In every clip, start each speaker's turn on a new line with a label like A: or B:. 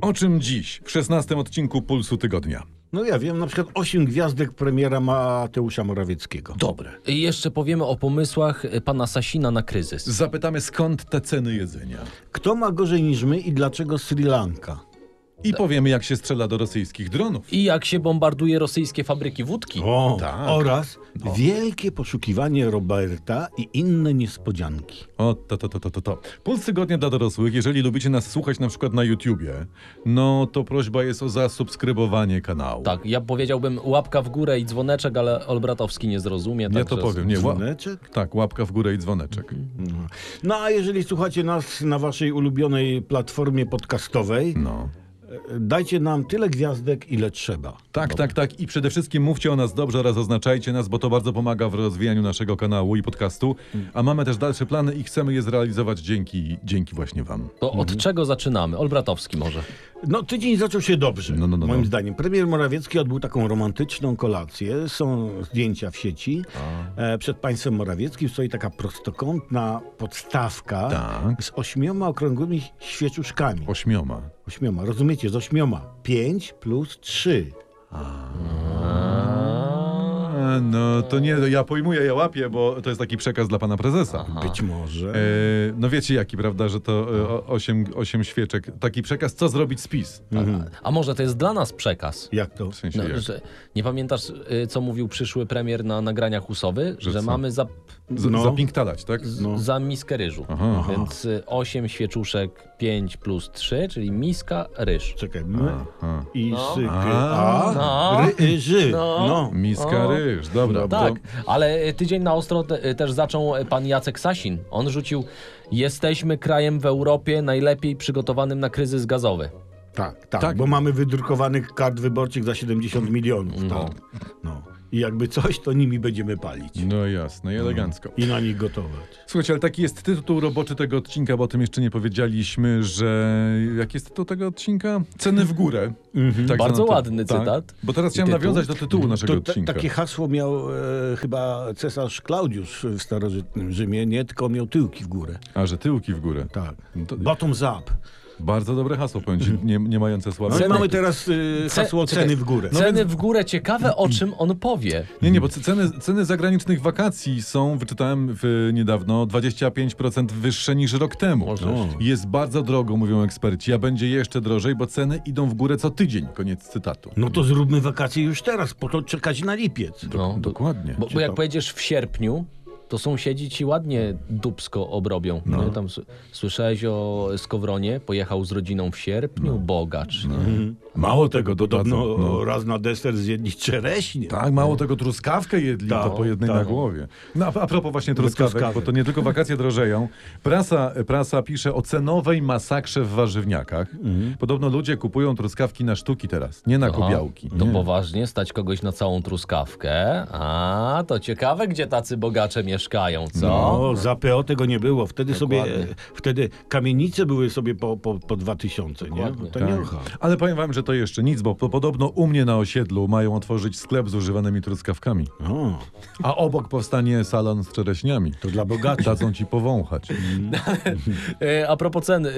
A: O czym dziś w 16 odcinku Pulsu Tygodnia?
B: No ja wiem, na przykład 8 gwiazdek premiera Mateusza Morawieckiego.
A: Dobre.
C: I jeszcze powiemy o pomysłach y, pana Sasina na kryzys.
A: Zapytamy skąd te ceny jedzenia.
B: Kto ma gorzej niż my i dlaczego Sri Lanka?
A: I
C: Tak.
A: powiemy jak się strzela do rosyjskich dronów.
C: I jak się bombarduje rosyjskie fabryki wódki.
B: O,
A: tak.
B: Oraz wielkie poszukiwanie Roberta i inne niespodzianki.
A: O, to, to, to, to, to, to. Puls Tygodnia dla dorosłych. Jeżeli lubicie nas słuchać na przykład na YouTubie, no to prośba jest o zasubskrybowanie kanału.
C: Tak, ja powiedziałbym łapka w górę i dzwoneczek, ale Olbratowski nie zrozumie.
A: Ja
C: także Mhm.
A: to powiem. Nie, ła...
B: Dzwoneczek?
A: Tak, łapka w górę i dzwoneczek.
B: No a jeżeli słuchacie nas na waszej ulubionej platformie podcastowej,
A: No.
B: e, dajcie nam tyle gwiazdek, ile trzeba.
A: Tak, tak, tak. I przede wszystkim mówcie o nas dobrze oraz oznaczajcie nas, bo to bardzo pomaga w rozwijaniu naszego kanału i podcastu.
C: Mhm.
A: A mamy też dalsze plany i chcemy je zrealizować dzięki, dzięki właśnie wam.
C: To od czego zaczynamy? Olbratowski może.
B: No, tydzień zaczął się dobrze,
A: No, no, no,
B: moim
A: no.
B: zdaniem. Premier Morawiecki odbył taką romantyczną kolację. Są zdjęcia w sieci.
A: Tak.
B: E, przed państwem Morawieckim stoi taka prostokątna podstawka
A: Tak.
B: z ośmioma okrągłymi świeczuszkami.
A: Ośmioma.
B: Ośmioma, rozumiecie? Z ośmioma. Pięć plus trzy.
A: A, No to nie, ja pojmuję, ja łapię, bo to jest taki przekaz dla pana prezesa.
B: Być może.
A: E, no wiecie jaki, prawda, że to 8, osiem świeczek. Taki przekaz, co zrobić z PiS.
B: Mhm.
C: A może to jest dla nas przekaz?
B: Jak to?
A: W sensie,
C: No,
A: jak?
C: że nie pamiętasz, y, co mówił przyszły premier na nagraniach Usowy?
A: Że
C: Że,
A: co?
C: mamy za,
A: Z,
B: no.
A: Zapinktalać, tak?
C: z,
B: No.
C: za miskę ryżu.
A: Aha.
B: Aha.
C: Więc 8 świeczuszek, 5 plus 3, czyli miska ryż.
B: Czekaj, my
A: Aha.
B: i
C: No.
B: syk.
A: A.
B: A,
C: No.
B: ry, y, ży.
C: No.
B: No.
A: Miska
C: O.
A: ryż, dobra.
C: Tak,
A: To,
C: ale y, tydzień na ostro te, y, też zaczął y, pan Jacek Sasin. On rzucił: Jesteśmy krajem w Europie najlepiej przygotowanym na kryzys gazowy.
B: Tak, tak,
A: Tak.
B: bo mamy wydrukowanych kart wyborczych za 70 milionów. No. Tak. No. I jakby coś, to nimi będziemy palić.
A: no jasne, i elegancko.
B: I na nich gotować.
A: Słuchajcie, ale taki jest tytuł roboczy tego odcinka, bo o tym jeszcze nie powiedzieliśmy, że jaki jest tytuł tego odcinka? Ceny w górę. Tak
C: Mhm. Bardzo
A: zwana to-
C: ładny cytat.
A: Bo teraz chciałem
C: Tytuł.
A: nawiązać do tytułu naszego
B: To te,
A: odcinka.
B: takie hasło miał e, chyba cesarz Klaudiusz w starożytnym Rzymie, nie tylko miał tyłki w górę.
A: A, że tyłki w górę.
B: Tak.
A: No to-
B: Bottoms up.
A: Bardzo dobre hasło, powiem ci, nie, nie mające
B: No
A: sławy.
B: i mamy teraz e,
C: Ce-
B: hasło
C: czekaj,
B: ceny w górę. No,
C: Ceny w górę, ciekawe o czym on powie.
A: Nie, nie, bo c- ceny, ceny zagranicznych wakacji są, wyczytałem w, niedawno, 25% wyższe niż rok temu.
C: Możesz.
A: No. Jest bardzo drogo, mówią eksperci, a będzie jeszcze drożej, bo ceny idą w górę co tydzień. Koniec cytatu.
B: no to zróbmy wakacje już teraz, po to czekać na lipiec.
C: No, bo,
A: Dokładnie.
C: bo jak pojedziesz w sierpniu, to sąsiedzi ci ładnie dubsko obrobią. No. Tam s- słyszałeś o Skowronie, pojechał z rodziną w sierpniu,
B: No.
C: bogacz. No.
B: Mało tego,
A: dodadzą,
B: podobno raz na deser zjedli czereśnie.
A: no, Tak, mało tego truskawkę jedli,
B: Tak,
A: to po jednej
B: tak.
A: na głowie. No a, a propos właśnie truskawek,
B: truskawek.
A: bo to nie tylko wakacje drożeją. Prasa, prasa pisze o cenowej masakrze w warzywniakach.
B: Mhm.
A: Podobno ludzie kupują truskawki na sztuki teraz, nie na kubiałki.
C: To
A: Nie.
C: poważnie stać kogoś na całą truskawkę. A, to ciekawe, gdzie tacy bogacze mieszkają, co?
B: No, za PO tego nie było. Wtedy sobie,
C: tak.
B: e,
C: Dokładnie.
B: wtedy kamienice były sobie po, po, po 2000, nie?
C: Dokładnie.
B: To nie
A: Tak.
B: ocha.
A: Ale powiem wam, że to jeszcze nic, bo po, podobno u mnie na osiedlu mają otworzyć sklep z używanymi truskawkami,
B: O,
A: a obok powstanie salon z czereśniami.
B: to dla bogaczy.
A: Dadzą ci powąchać.
C: E, A propos cen, e,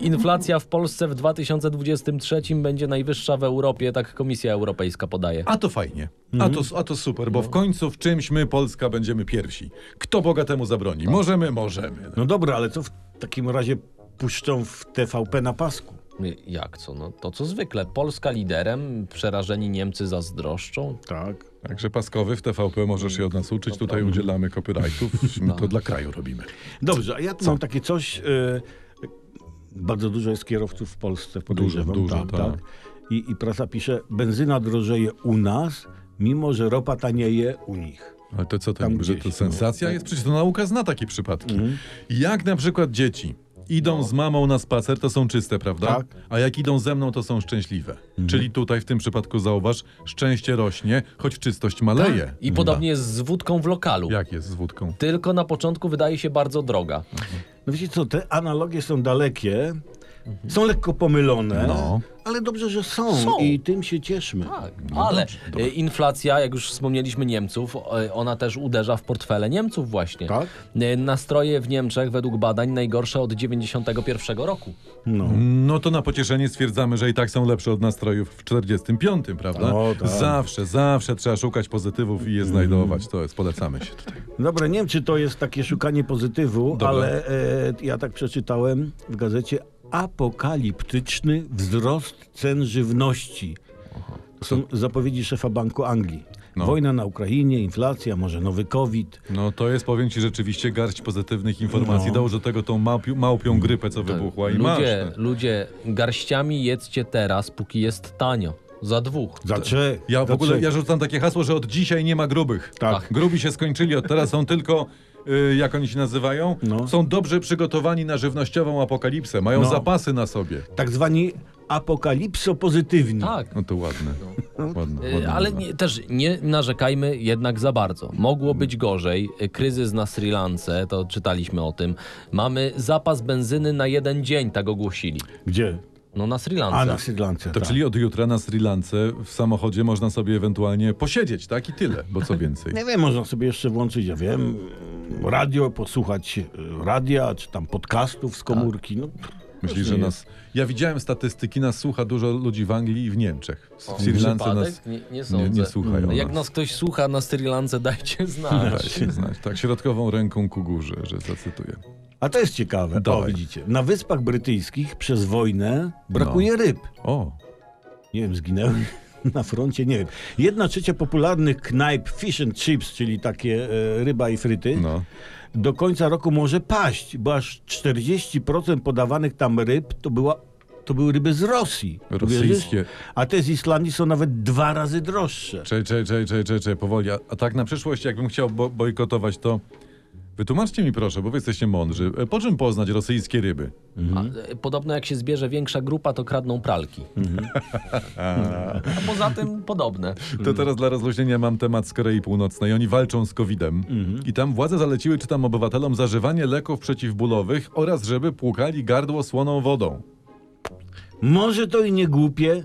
C: inflacja w Polsce w 2023 będzie najwyższa w Europie, tak Komisja Europejska podaje.
A: A to fajnie. A,
B: Mhm.
A: to, a to super, bo w końcu w czymś my, Polska, będziemy pierwsi. Kto Boga temu zabroni?
B: Tak.
A: Możemy, możemy.
B: No dobra, ale co w takim razie puszczą w TVP na pasku?
C: E, Jak co? No to co zwykle, Polska liderem, przerażeni Niemcy zazdroszczą.
B: Tak.
A: Także Paskowy w TVP możesz się od nas uczyć. Tutaj udzielamy copyrightów.
B: No.
A: My to dla kraju robimy.
B: Dobrze, a ja tu mam takie coś. e, bardzo dużo jest kierowców w Polsce, podejrzewam.
A: dużo, tak.
B: I, I prasa pisze, benzyna drożeje u nas, mimo że ropa tanieje u nich.
A: Ale to co, to,
B: Tam
A: niby, że
B: gdzieś,
A: to
B: no. Mhm.
A: sensacja jest? Przecież to nauka zna takie przypadki. Jak na przykład dzieci idą z mamą na spacer, to są czyste, prawda?
B: No. Tak. Mhm.
A: A jak idą ze mną, to są szczęśliwe. Czyli tutaj w tym przypadku zauważ, szczęście rośnie, choć czystość maleje.
B: Tak.
C: I podobnie jest z wódką w lokalu.
A: Jak jest z wódką?
C: Tylko na początku wydaje się bardzo droga.
B: No wiecie co, te analogie są dalekie, Są lekko pomylone,
A: No.
B: ale dobrze, że są,
C: Są.
B: i tym się cieszmy.
C: Tak, ale e, inflacja, jak już wspomnieliśmy Niemców, e, ona też uderza w portfele Niemców właśnie.
B: Tak?
C: E, Nastroje w Niemczech według badań najgorsze od 91 roku.
B: No.
A: No to na pocieszenie stwierdzamy, że i tak są lepsze od nastrojów w 45, prawda?
B: O, tak. Mhm.
A: Zawsze, zawsze trzeba szukać pozytywów i je znajdować. To jest, polecamy się tutaj.
B: Dobra, nie wiem, czy to jest takie szukanie pozytywu,
A: Dobra.
B: ale e, ja tak przeczytałem w gazecie apokaliptyczny wzrost cen żywności. To są zapowiedzi szefa Banku Anglii.
A: No.
B: Wojna na Ukrainie, inflacja, może nowy COVID.
A: No to jest, powiem ci, rzeczywiście garść pozytywnych informacji.
B: No.
A: Dołóż do tego tą małpią, małpią grypę, co wybuchła i masz.
C: No, ludzie,
A: no.
C: ludzie, garściami jedzcie teraz, póki jest tanio. Za dwóch.
B: Za trzech.
A: Ja w
B: za
A: ogóle
B: trzech.
A: ja rzucam takie hasło, że od dzisiaj nie ma grubych.
B: Znaczy- Tak.
A: Grubi się skończyli, od teraz są tylko, y, jak oni się nazywają,
B: No.
A: są dobrze przygotowani na żywnościową apokalipsę, mają
B: No.
A: zapasy na sobie.
B: Tak zwani apokalipsopozytywni.
C: Tak.
A: No to ładne. ładne,
C: Y,
A: ładne
C: Ale
A: nazwa.
C: nie, też nie narzekajmy jednak za bardzo.
A: Mm.
C: Mogło być gorzej. Y, Kryzys na Sri Lance, to czytaliśmy o tym. Mamy zapas benzyny na jeden dzień, tak ogłosili.
B: Gdzie?
C: No na Sri Lance.
B: A na Sri Lance.
A: To
B: tak.
A: czyli od jutra na Sri Lance w samochodzie można sobie ewentualnie posiedzieć, tak? I tyle, bo co więcej.
B: Nie No wiem, można sobie jeszcze włączyć, ja wiem, radio, posłuchać e, radia, czy tam podcastów z komórki. No,
A: Myślisz, że
B: nie
A: nas... Ja widziałem statystyki, nas słucha dużo ludzi w Anglii i w Niemczech. W Sri Lance
C: Przypadek?
A: nas...
C: Nie, nie
A: Nie,
C: sądzę. Mm,
A: nie słuchają
C: Jak
A: nas.
C: nas ktoś słucha na Sri Lance, dajcie
A: Daj
C: znać.
A: się znać. Tak, środkową ręką ku górze, że zacytuję.
B: A to jest ciekawe. O,
A: Dawaj.
B: widzicie. Na Wyspach Brytyjskich przez wojnę
A: No.
B: brakuje ryb.
A: O,
B: Nie wiem, zginęły na froncie, nie wiem. Jedna trzecia popularnych knajp fish and chips, czyli takie e, ryba i fryty,
A: no.
B: do końca roku może paść, bo aż 40% podawanych tam ryb to była to były ryby z Rosji.
A: Rosyjskie.
B: Uwierzysz? A te z Islandii są nawet dwa razy droższe.
A: Czej, czej, czej, czej, czej, czej, powoli. A, a tak na przyszłość, jakbym chciał bo bojkotować, to wytłumaczcie mi proszę, bo wy jesteście mądrzy. E, Po czym poznać rosyjskie ryby? Mhm.
C: A, y, Podobno jak się zbierze większa grupa, to kradną pralki.
A: Mhm.
C: A poza tym podobne.
A: To teraz dla rozluźnienia mam temat z Korei Północnej. Oni walczą z COVID-em i tam władze zaleciły, czytam obywatelom, zażywanie leków przeciwbólowych oraz żeby płukali gardło słoną wodą.
B: Może to i nie głupie,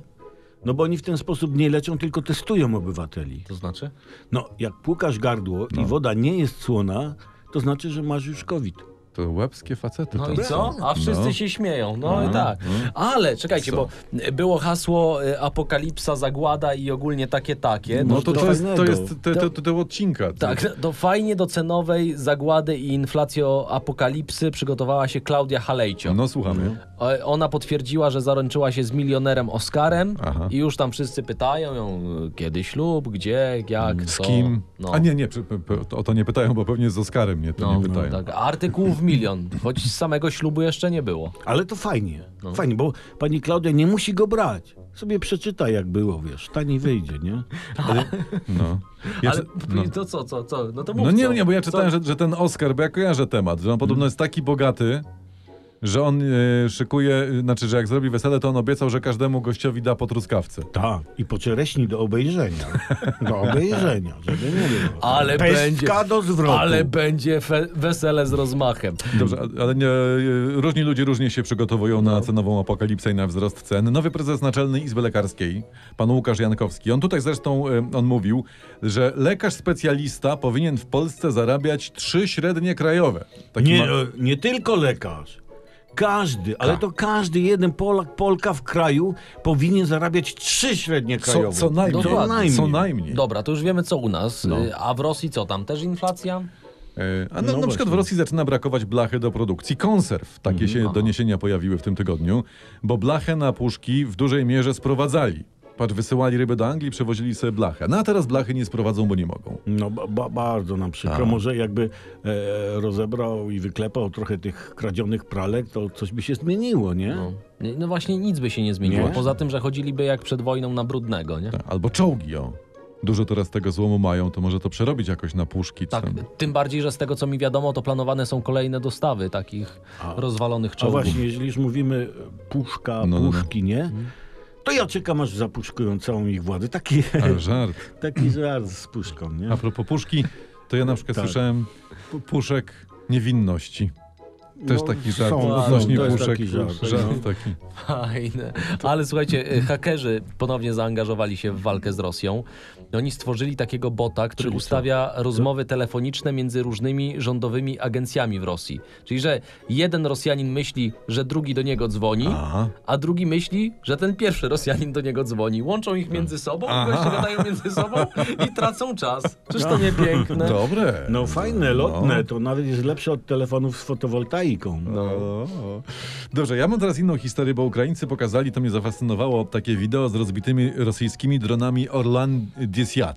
B: no bo oni w ten sposób nie leczą, tylko testują obywateli.
C: To znaczy?
B: No, jak płukasz gardło
C: No.
B: i woda nie jest słona, to znaczy, że masz już COVID.
A: To łebskie facety.
C: No
A: to
C: i co?
A: są.
C: A wszyscy
A: No. mhm.
C: się śmieją. No i tak. Ale czekajcie,
A: Co?
C: bo e, było hasło y, apokalipsa, zagłada i ogólnie takie takie.
A: No
B: Może
A: to,
B: coś
A: to jest, to
B: fajnego.
A: jest te, te, te, te odcinka.
C: Tak, do fajnie do cenowej zagłady i inflacjo apokalipsy przygotowała się Klaudia Halejcio.
A: No słuchamy.
C: O- Ona potwierdziła, że zaręczyła się z milionerem Oskarem
A: Aha.
C: i już tam wszyscy pytają ją, y, kiedy ślub, gdzie, jak,
A: Mm, Z
C: co.
A: kim?
C: No.
A: A nie, nie, przy- p- p- o to nie pytają, bo pewnie z Oskarem mnie to
C: No,
A: nie pytają.
C: tak. Artykuł w milion, choć samego ślubu jeszcze nie było.
B: Ale to fajnie,
C: No.
B: fajnie, bo pani Klaudia nie musi go brać. Sobie przeczyta, jak było, wiesz, taniej wyjdzie, nie?
A: No. Ja
C: Ale
A: czy- no.
C: to co, co, co? No to mów,
A: no nie,
C: co?
A: nie, bo ja czytałem,
C: co?
A: że, że ten Oscar, bo ja kojarzę temat, że on podobno jest taki bogaty, że on y, szykuje, y, znaczy, że jak zrobi wesele, to on obiecał, że każdemu gościowi da po truskawce.
B: Tak, i po czereśni do obejrzenia. Do obejrzenia, żeby nie było.
C: Ale
B: Pestka
C: będzie-
B: do zwrotu.
C: Ale będzie fe- wesele z rozmachem.
A: Dobrze, a- ale nie, y, różni ludzie różnie się przygotowują na cenową apokalipsę i na wzrost cen. Nowy prezes Naczelnej Izby Lekarskiej, pan Łukasz Jankowski, on tutaj zresztą, y, on mówił, że lekarz specjalista powinien w Polsce zarabiać trzy średnie krajowe. Taki
B: Nie,
A: ma- Tak.
B: e, nie tylko lekarz. Każdy, ale to każdy jeden Polak, Polka w kraju powinien zarabiać trzy średnie
A: co,
B: krajowe.
A: co
B: No
A: najmniej.
C: Dokładnie.
A: Co najmniej.
C: Dobra, to już wiemy co u nas, y, a w Rosji co tam? Też inflacja?
A: E, A na,
B: No
A: na przykład
B: właśnie. Mhm.
A: w Rosji zaczyna brakować blachy do produkcji konserw. Takie się doniesienia pojawiły w tym tygodniu, bo blachę na puszki w dużej mierze sprowadzali. Patrz, wysyłali ryby do Anglii, przewozili sobie blachę. No a teraz blachy nie sprowadzą, bo nie mogą.
B: No ba, ba, bardzo nam przykro.
A: Tak.
B: Może jakby e, rozebrał i wyklepał trochę tych kradzionych pralek, to coś by się zmieniło, nie?
C: No, no właśnie nic by się nie zmieniło,
B: Nie?
C: poza tym, że chodziliby jak przed wojną na brudnego, nie?
A: Albo czołgi, o. Dużo teraz tego złomu mają, to może to przerobić jakoś na puszki. czy
C: Tak,
A: tam.
C: tym bardziej, że z tego co mi wiadomo, to planowane są kolejne dostawy takich rozwalonych
B: A
C: czołgów.
B: właśnie, jeżeli już mówimy e, puszka,
A: No, no, no.
B: puszki, nie? To ja czekam, aż zapuszkują całą ich władzę. Taki,
A: Ale żart.
B: taki żart z puszką, nie?
A: A propos puszki, to ja na przykład
B: Tak.
A: słyszałem pu- puszek niewinności. Też
B: No,
A: taki żart
B: są,
A: odnośnie
B: są, to jest
A: puszek.
B: taki żart, no.
A: żart taki.
C: Fajne. Ale słuchajcie, y, hakerzy ponownie zaangażowali się w walkę z Rosją. Oni stworzyli takiego bota, który
B: Czyli co?
C: ustawia rozmowy telefoniczne między różnymi rządowymi agencjami w Rosji. Czyli, że jeden Rosjanin myśli, że drugi do niego dzwoni,
A: Aha.
C: a drugi myśli, że ten pierwszy Rosjanin do niego dzwoni. Łączą ich między sobą,
A: Aha.
C: goście gadają między sobą i tracą czas. Czyż to nie piękne?
A: Dobre.
B: No fajne, lotne,
A: No.
B: to nawet jest lepsze od telefonów z fotowoltaiką.
A: O. Dobrze, ja mam teraz inną historię, bo Ukraińcy pokazali, to mnie zafascynowało, takie wideo z rozbitymi rosyjskimi dronami Orlan 10.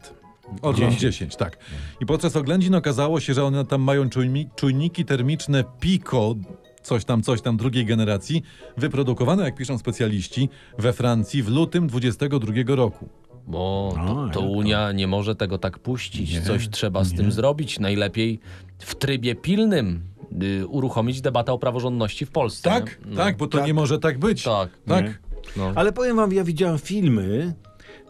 A: Orlan 10, tak. I podczas oględzin okazało się, że one tam mają czujni, czujniki termiczne Pico, coś tam, coś tam drugiej generacji, wyprodukowane, jak piszą specjaliści, we Francji w lutym 22 roku.
C: Bo to,
B: A,
C: to
B: jak to?
C: Unia nie może tego tak puścić.
A: Nie,
C: Coś trzeba z tym zrobić. Najlepiej w trybie pilnym y, uruchomić debatę o praworządności w Polsce.
A: Tak,
C: nie? No.
A: tak, bo to
B: Tak.
A: nie może tak być.
C: Tak.
A: tak.
B: Nie.
C: No.
B: Ale powiem wam, ja widziałem filmy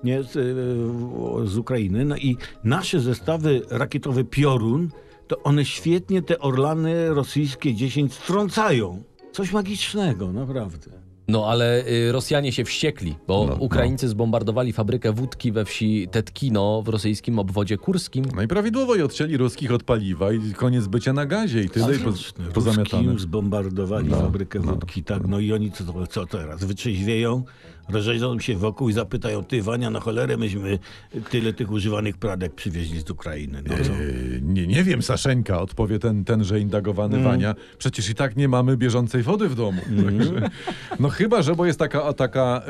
B: nie, z, e, z Ukrainy no i nasze zestawy rakietowe Piorun, to one świetnie te Orlany rosyjskie 10 strącają. Coś magicznego, naprawdę.
C: no ale y, Rosjanie się wściekli, bo
A: No,
C: Ukraińcy zbombardowali fabrykę wódki we wsi Tetkino w rosyjskim obwodzie kurskim.
A: No i prawidłowo i odcięli ruskich od paliwa i koniec bycia na gazie No i tyle i po,
B: Faktycznie,
A: pozamiatane. No,
B: Ruskim zbombardowali fabrykę wódki, tak, no i oni co, co teraz, wytrzeźwieją, rozejrzą się wokół i zapytają, ty Wania, na cholerę myśmy tyle tych używanych pradek przywieźli z Ukrainy. No, co?
A: Yy, Nie, nie wiem, Saszenka, odpowie ten, tenże indagowany
C: Mm.
A: Wania. Przecież i tak nie mamy bieżącej wody w domu. Także, no chyba, że bo jest taka, taka,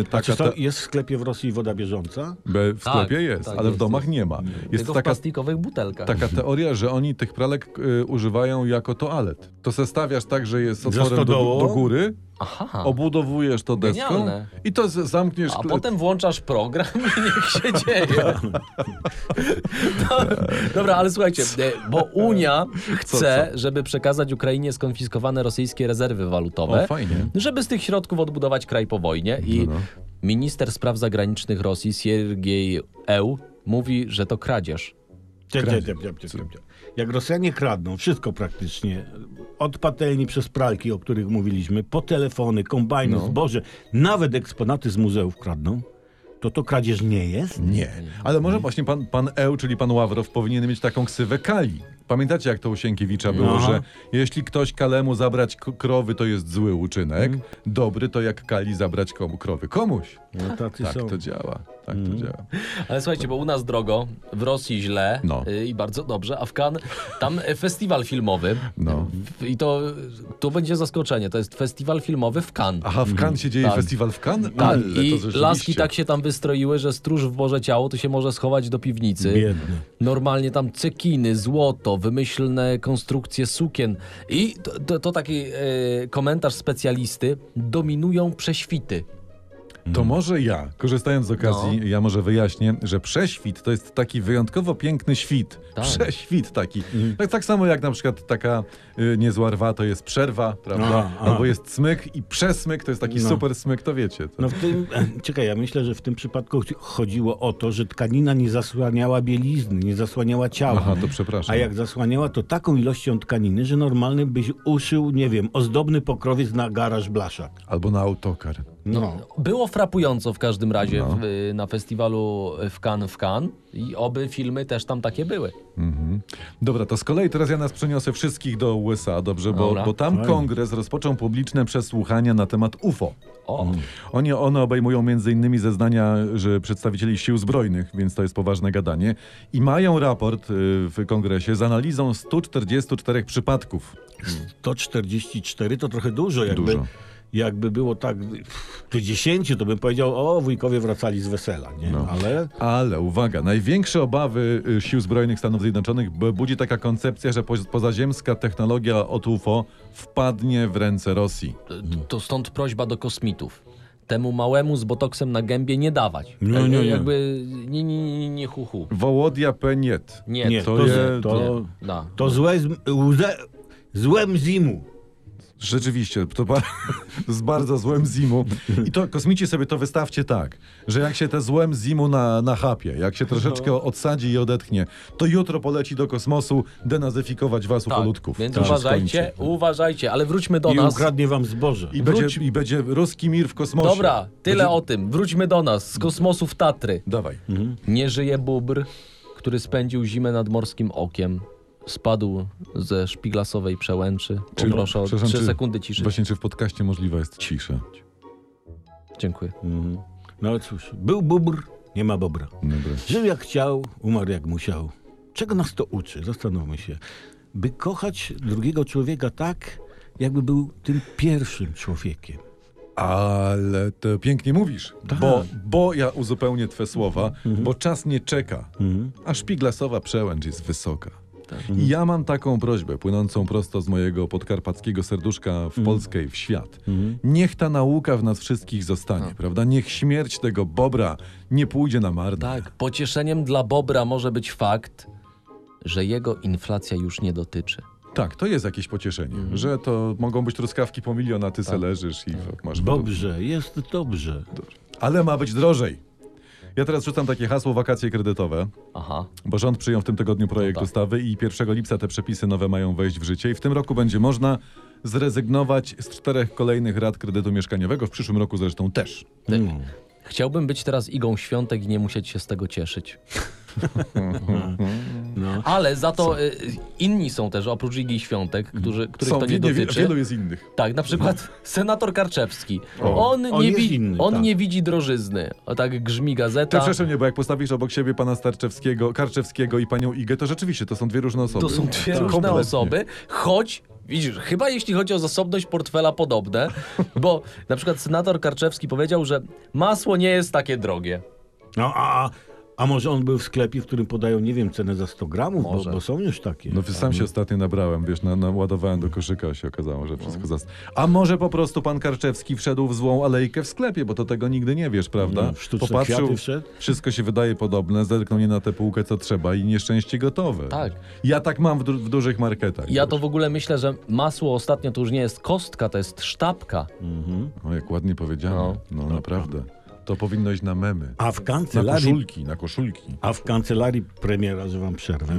A: e,
B: A
A: taka
B: czy
A: ta,
B: to jest w sklepie w Rosji woda bieżąca?
A: be- w
C: Tak,
A: sklepie jest,
C: tak,
A: ale w
C: jest,
A: domach
C: jest.
A: nie ma. Jest
C: Tylko w
A: taka, tak.
C: plastikowych butelkach.
A: taka teoria, że oni tych pralek y, używają jako toalet. To se stawiasz tak, że jest otworem do,
B: stodołą?
A: do góry,
C: Aha.
A: obudowujesz to deską
C: Genialne.
A: i to z- zamkniesz...
C: A
A: kle-
C: potem włączasz program i niech się dzieje. No, Dobra, ale słuchajcie, e, bo Unia chce, żeby przekazać Ukrainie skonfiskowane rosyjskie rezerwy
A: O,
C: walutowe,
A: fajnie. No,
C: żeby z tych środków odbudować kraj po wojnie i minister spraw zagranicznych Rosji Siergiej Eł mówi, że to kradzież.
B: Ciep, ciep, ciep, ciep, ciep, ciep, ciep. Jak Rosjanie kradną wszystko praktycznie, od patelni przez pralki, o których mówiliśmy, po telefony, kombajny,
A: No.
B: zboże, nawet eksponaty z muzeów kradną, to to kradzież nie jest?
A: Nie, ale może
C: Mhm.
A: właśnie pan, pan Eł, czyli pan Ławrow, powinien mieć taką ksywę Kali. Pamiętacie, jak to u Sienkiewicza
C: No.
A: było,
B: Aha.
A: że jeśli ktoś Kalemu zabrać k- krowy, to jest zły uczynek,
C: Mhm.
A: dobry to jak Kali zabrać komu krowy. Komuś.
B: No, tacy
A: Tak
B: są.
A: to działa, tak
C: Mhm.
A: to działa.
C: Ale słuchajcie, bo u nas drogo, w Rosji źle
A: No.
C: y, i bardzo dobrze, a w Cannes tam e, festiwal filmowy
A: No.
C: W- i to, to będzie zaskoczenie, to jest festiwal filmowy w Cannes.
A: Aha, w Cannes się dzieje
C: Tak.
A: festiwal w Cannes?
C: Tak,
A: Ale to
C: i
A: rzeczywiście.
C: laski tak się tam wystroiły, że stróż w Boże Ciało to się może schować do piwnicy.
B: Biedne.
C: Normalnie tam cekiny, złoto, wymyślne konstrukcje sukien. I to, to, to taki e, komentarz specjalisty. Dominują prześwity.
A: To może ja, korzystając z okazji,
C: No.
A: ja może wyjaśnię, że prześwit to jest taki wyjątkowo piękny świt.
C: Tak. Mhm.
A: Prześwit taki. Tak, tak samo jak na przykład taka y, niezła rwa to jest przerwa, prawda?
B: A, a.
A: Albo jest smyk i przesmyk to jest taki
B: No.
A: super smyk, to wiecie. To.
B: No w tym, czekaj, ja myślę, że w tym przypadku ch- chodziło o to, że tkanina nie zasłaniała bielizny, nie zasłaniała ciała.
A: Aha, to przepraszam.
B: A jak zasłaniała, to taką ilością tkaniny, że normalny byś uszył, nie wiem, ozdobny pokrowiec na garaż blaszak.
A: Albo na autokar.
B: No.
C: Było frapująco w każdym razie w, y, na festiwalu w Cannes w Cannes. I oby filmy też tam takie były.
A: Dobra, to z kolei teraz ja nas przeniosę wszystkich do USA, dobrze? Bo,
C: Dobra.
A: bo tam
B: Fajnie.
A: kongres rozpoczął publiczne przesłuchania na temat UFO.
C: O,
B: No.
A: Oni, one obejmują m.in. zeznania że przedstawicieli sił zbrojnych, więc to jest poważne gadanie. I mają raport y, w kongresie z analizą 144 przypadków.
B: 144 to trochę dużo, jakby,
A: Dużo.
B: jakby było tak pff, tu 10, to bym powiedział, o, wujkowie wracali z wesela, nie?
A: No.
B: Ale
A: Ale uwaga, największe obawy y, sił zbrojnych Stanów Zjednoczonych b- budzi taka koncepcja, że po, pozaziemska technologia od UFO wpadnie w ręce Rosji.
C: to, to stąd prośba do kosmitów. Temu małemu z botoksem na gębie nie dawać.
B: Nie,
C: Jak-
B: nie, nie.
C: Jakby nie, nie, nie, nie, nie hu, hu.
A: Wołodia Peniet.
C: Nie,
B: nie,
A: to
B: to,
A: je-
B: to,
C: Da.
B: to złe, z- łze, złem zimu.
A: Rzeczywiście, to ba- z bardzo złem zimu. I to kosmici sobie to wystawcie tak, że jak się te złem zimu na, nachapie, jak się troszeczkę
C: No.
A: odsadzi i odetchnie, to jutro poleci do kosmosu denazyfikować was
C: Tak,
A: ufolutków.
C: Więc
A: To się
C: uważajcie,
A: skończy.
C: uważajcie, ale wróćmy do
B: I
C: nas.
B: ukradnie wam zboże.
A: I będzie,
C: wróć-
A: I będzie ruski mir w kosmosie.
C: Dobra, tyle
A: będzie...
C: o tym. Wróćmy do nas. Z kosmosów Tatry.
A: Dawaj.
C: Nie żyje bóbr, który spędził zimę nad morskim okiem. Spadł ze szpiglasowej przełęczy.
A: Czy-
C: Poproszę o
A: przepraszam,
C: 3
A: czy-
C: sekundy ciszy.
A: Właśnie, czy w podcaście możliwa jest cisza?
C: Dziękuję.
B: Mhm. No ale cóż, był bóbr, nie ma bobra.
A: Dobra.
B: Żył jak chciał, umarł jak musiał. Czego nas to uczy? Zastanówmy się. By kochać drugiego człowieka tak, jakby był tym pierwszym człowiekiem.
A: Ale to pięknie mówisz,
B: Tak.
A: bo, bo ja uzupełnię twe słowa, bo czas nie czeka, a szpiglasowa przełęcz jest wysoka. I ja mam taką prośbę, płynącą prosto z mojego podkarpackiego serduszka w Polskę i w świat. Niech ta nauka w nas wszystkich zostanie, prawda? Niech śmierć tego bobra nie pójdzie na marne.
C: Tak, pocieszeniem dla Bobra może być fakt, że jego inflacja już nie dotyczy.
A: Tak, to jest jakieś pocieszenie, że to mogą być truskawki po milion, a ty se leżysz i masz
B: Dobrze, jest dobrze.
A: Ale ma być drożej. Ja teraz rzucam takie hasło wakacje kredytowe.
C: Aha.
A: No Bo rząd przyjął w tym tygodniu projekt
C: No tak.
A: ustawy i 1 lipca te przepisy nowe mają wejść w życie i w tym roku będzie można zrezygnować z czterech kolejnych rat kredytu mieszkaniowego, w przyszłym roku zresztą też.
B: Mm.
C: Chciałbym być teraz igą świątek i nie musieć się z tego cieszyć.
B: No.
C: Ale za to y, inni są też, oprócz Igi Świątek, którzy, których to nie
A: wie-
C: dotyczy.
A: wielu jest innych.
C: Tak, na przykład senator Karczewski.
A: O.
C: On,
B: On
C: nie,
B: jest
C: wi-
B: inny,
C: on
B: tak.
C: nie widzi drożyzny. O, tak grzmi
A: Ty,
C: gazeta.
A: przepraszam mnie, bo jak postawisz obok siebie pana Starczewskiego, Karczewskiego i panią Igę, to rzeczywiście to są dwie różne osoby.
C: To są dwie
A: Tak,
C: różne
A: kompletnie.
C: osoby, choć widzisz, chyba jeśli chodzi o zasobność portfela podobne, bo na przykład senator Karczewski powiedział, że masło nie jest takie drogie.
B: No, a, a może on był w sklepie, w którym podają, nie wiem, cenę za 100 gramów, bo,
C: Może.
B: bo są już takie.
A: No sam się ostatnio nabrałem, wiesz, na, naładowałem do koszyka, a się okazało, że wszystko zas... A może po prostu pan Karczewski wszedł w złą alejkę w sklepie, bo to tego nigdy nie wiesz, prawda?
B: No, w sztuczne kwiaty wszedł.
A: wszystko się wydaje podobne, zerknął nie na tę półkę, co trzeba i nieszczęście gotowe.
C: Tak.
A: Ja tak mam w, du- w dużych marketach.
C: Ja to w ogóle myślę, że masło ostatnio to już nie jest kostka, to jest sztabka.
B: Mhm.
A: O, jak ładnie powiedziane. No,
C: No.
A: naprawdę. To powinno iść na memy.
B: A w
A: Na
B: kancelarii
A: koszulki, na koszulki.
B: A w kancelarii premiera, że wam przerwę,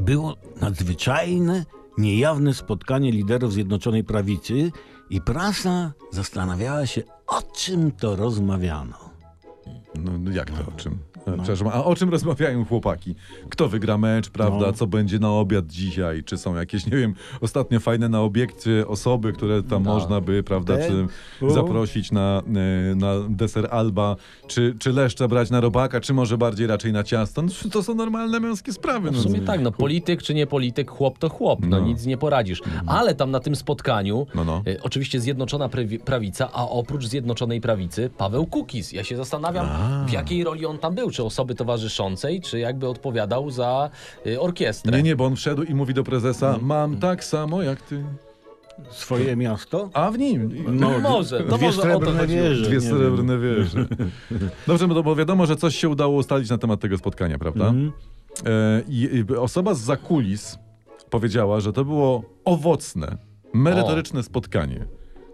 B: było nadzwyczajne, niejawne spotkanie liderów Zjednoczonej Prawicy i prasa zastanawiała się, o czym to rozmawiano.
A: No no jak to o czym? Przepraszam, a o czym rozmawiają chłopaki? Kto wygra mecz, prawda?
B: No.
A: Co będzie na obiad dzisiaj? Czy są jakieś, nie wiem, ostatnio fajne na obiekcie osoby, które tam można by, prawda,
B: Te-
A: czy
B: u.
A: zaprosić na, y, na deser alba, czy, czy leszcze brać na robaka, czy może bardziej raczej na ciasto? No, to są normalne męskie sprawy.
C: W
A: No.
C: sumie tak, no polityk czy nie polityk, chłop to chłop, no,
A: No.
C: nic nie poradzisz. Ale tam na tym spotkaniu,
A: No, no.
C: y, oczywiście Zjednoczona Prawi- Prawica, a oprócz Zjednoczonej Prawicy Paweł Kukiz. Ja się zastanawiam, w jakiej roli on tam był, czy osoby towarzyszącej, czy jakby odpowiadał za y, orkiestrę.
A: Nie, nie, bo on wszedł i mówi do prezesa, mam tak samo jak ty.
B: Swoje miasto?
A: A w nim.
C: No, może, to
B: dwie
C: może o to
B: srebrne
C: chodziło.
B: wieże. nie
A: Dwie
B: wiem.
A: srebrne wieże. Dobrze, no to bo wiadomo, że coś się udało ustalić na temat tego spotkania, prawda?
B: Mhm.
A: E, i, i osoba z zakulis powiedziała, że to było owocne, merytoryczne spotkanie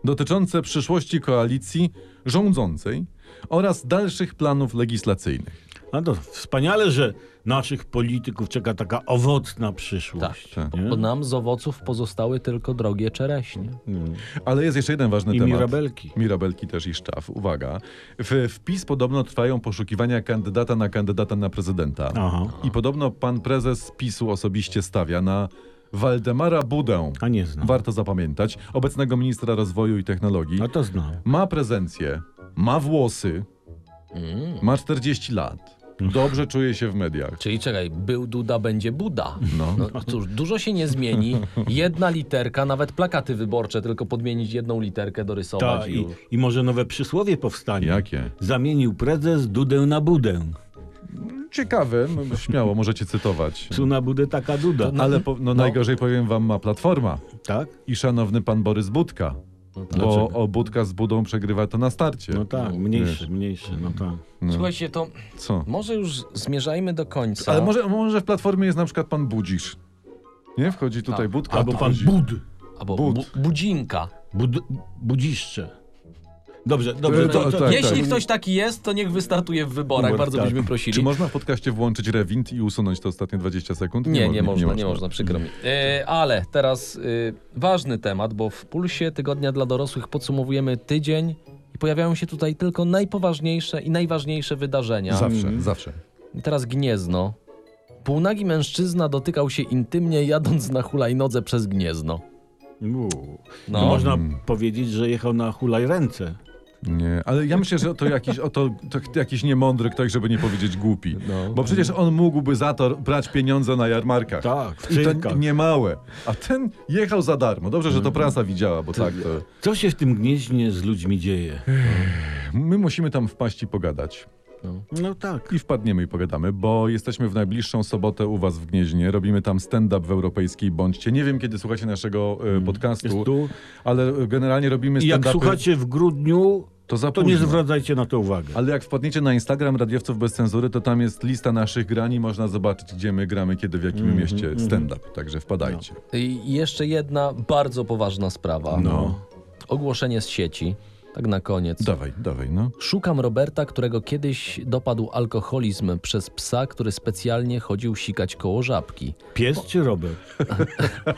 A: dotyczące przyszłości koalicji rządzącej oraz dalszych planów legislacyjnych.
B: A to wspaniale, że naszych polityków czeka taka owocna przyszłość.
A: Tak,
B: nie?
C: Bo nam z owoców pozostały tylko drogie czereśnie.
B: Mm.
A: Ale jest jeszcze jeden ważny
B: I
A: temat.
B: mirabelki.
A: Mirabelki też i Szczaw. Uwaga. W, w PiS podobno trwają poszukiwania kandydata na kandydata na prezydenta.
B: Aha.
A: I podobno pan prezes PiSu osobiście stawia na Waldemara Budę.
B: A nie znam.
A: Warto zapamiętać. Obecnego ministra rozwoju i technologii.
B: A No to znam.
A: Ma prezencję, ma włosy,
C: Mm.
A: ma 40 lat. Dobrze czuje się w mediach.
C: Czyli czekaj, był Duda, będzie Buda.
A: No.
C: No cóż, dużo się nie zmieni. Jedna literka, nawet plakaty wyborcze, tylko podmienić jedną literkę, dorysować
B: Ta,
C: i
B: i,
C: już.
B: I może nowe przysłowie powstanie.
A: Jakie?
B: Zamienił prezes dudę na budę.
A: Ciekawe, m- śmiało możecie cytować.
B: Tu na budę taka duda.
A: Ale po, no, najgorzej powiem wam ma Platforma
B: Tak?
A: i szanowny pan Borys Budka. Bo o Budka z Budą przegrywa to na starcie.
B: No tak, mniejszy, mniejszy, no tak.
C: Słuchajcie, to
A: Y, Co?
C: może już zmierzajmy do końca. Tak.
A: Ale może, może w Platformie jest na przykład pan Budzisz. Nie? Wchodzi tutaj Budka.
B: Albo
A: tu
B: pan
A: wchodzi-
B: Bud.
C: albo
A: But.
C: bu, budzinka.
B: Bud budziszcze. Dobrze, dobrze.
A: To-
B: To,
A: to-
B: to,
A: tak,
C: Jeśli
A: tak.
C: ktoś taki jest, to niech wystartuje w wyborach,
B: Wyborach,
C: bardzo
B: tak.
C: byśmy prosili.
A: Czy można w podcaście włączyć rewind i usunąć te ostatnie 20 sekund?
C: Nie,
A: mo-
C: nie, można, nie można, przykro mi. E, ale teraz y, ważny temat, bo w Pulsie Tygodnia dla Dorosłych podsumowujemy tydzień i pojawiają się tutaj tylko najpoważniejsze i najważniejsze wydarzenia.
A: Mm. Zawsze,
B: Mhm.
A: zawsze.
C: I Teraz Gniezno. Półnagi mężczyzna dotykał się intymnie jadąc na hulajnodze przez Gniezno.
B: Uuu.
C: No.
B: To Można
A: Mm.
B: powiedzieć, że jechał na hulajręce.
A: Nie, ale ja myślę, że to jakiś, o to, to jakiś niemądry ktoś, żeby nie powiedzieć głupi.
C: No.
A: Bo przecież on mógłby za to brać pieniądze na jarmarkach.
B: Tak, w
A: I to
B: cyrkach.
A: niemałe. A ten jechał za darmo. Dobrze, że to prasa widziała, bo tak to...
B: Co się w tym gnieźnie z ludźmi dzieje?
A: My musimy tam wpaść i pogadać.
B: No tak.
A: I wpadniemy i pogadamy, bo jesteśmy w najbliższą sobotę u was w Gnieźnie. Robimy tam stand-up w Europejskiej Bądźcie. Nie wiem, kiedy słuchacie naszego e, podcastu,
B: Mm. Jest tu.
A: ale e, generalnie robimy
B: I jak
A: stand-upy,
B: słuchacie w grudniu,
A: to za
B: to
A: późno.
B: nie zwracajcie na to uwagę.
A: Ale jak wpadniecie na Instagram Radiowców Bez Cenzury, to tam jest lista naszych grań i można zobaczyć, gdzie my gramy, kiedy, w jakim
B: Mhm,
A: mieście stand-up. Także wpadajcie.
B: No.
C: I jeszcze jedna bardzo poważna sprawa.
A: No.
C: Ogłoszenie z sieci. Tak na koniec.
A: Dawaj, dawaj, no.
C: Szukam Roberta, którego kiedyś dopadł alkoholizm przez psa, który specjalnie chodził sikać koło żabki.
B: Pies czy Robert?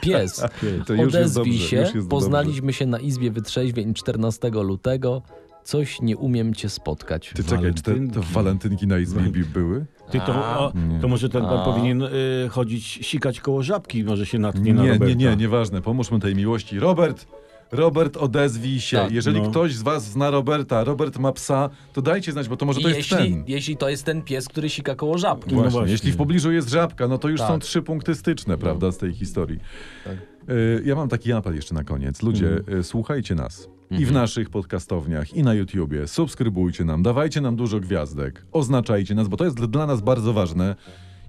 C: Pies.
A: To już jest
C: Odezwij
A: dobrze,
C: się.
A: już jest
C: Poznaliśmy się na Izbie Wytrzeźwień 14 lutego. Coś nie umiem cię spotkać.
A: Ty czekaj, czy te, to
B: Walentynki.
A: walentynki na Izbie były?
B: Ty to, o,
A: Nie.
B: to może ten pan
C: A.
B: powinien y, chodzić, sikać koło żabki, może się natknie
A: Nie,
B: na Roberta.
A: nie, nie, nieważne. Pomóżmy tej miłości. Robert! Robert, odezwij się.
C: Tak,
A: Jeżeli
B: no.
A: ktoś z was zna Roberta, Robert ma psa, to dajcie znać, bo to może
C: I
A: to jest
C: jeśli,
A: ten.
C: jeśli to jest ten pies, który sika koło żabki.
A: Właśnie.
B: właśnie.
A: Jeśli w pobliżu jest żabka, no to już
C: Tak.
A: są trzy punkty styczne, prawda, z tej historii. Y, Ja mam taki apel jeszcze na koniec. Ludzie, y, słuchajcie nas. I w naszych podcastowniach, i na YouTubie. Subskrybujcie nam, dawajcie nam dużo gwiazdek, oznaczajcie nas, bo to jest dla- dla nas bardzo ważne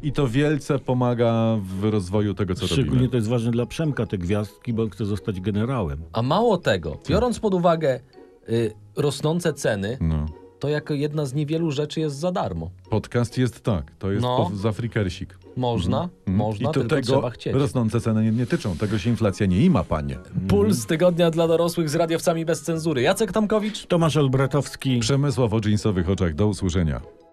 A: i to wielce pomaga w rozwoju tego, co robimy.
B: Szczególnie to jest ważne dla Przemka, te gwiazdki, bo on chce zostać generałem.
C: A mało tego, biorąc pod uwagę y, rosnące ceny,
A: No.
C: to jako jedna z niewielu rzeczy jest za darmo.
A: Podcast jest tak, to jest
C: No.
A: po, za frikersik.
C: Można, można,
A: Mhm. I to
C: tylko
A: tego
C: trzeba chcieć.
A: rosnące ceny nie, nie tyczą, tego się inflacja nie ima, panie.
C: Puls tygodnia dla dorosłych z radiowcami bez cenzury. Jacek Tomkowicz.
B: Tomasz Olbratowski.
A: Przemysław o dżinsowych oczach, do usłyszenia.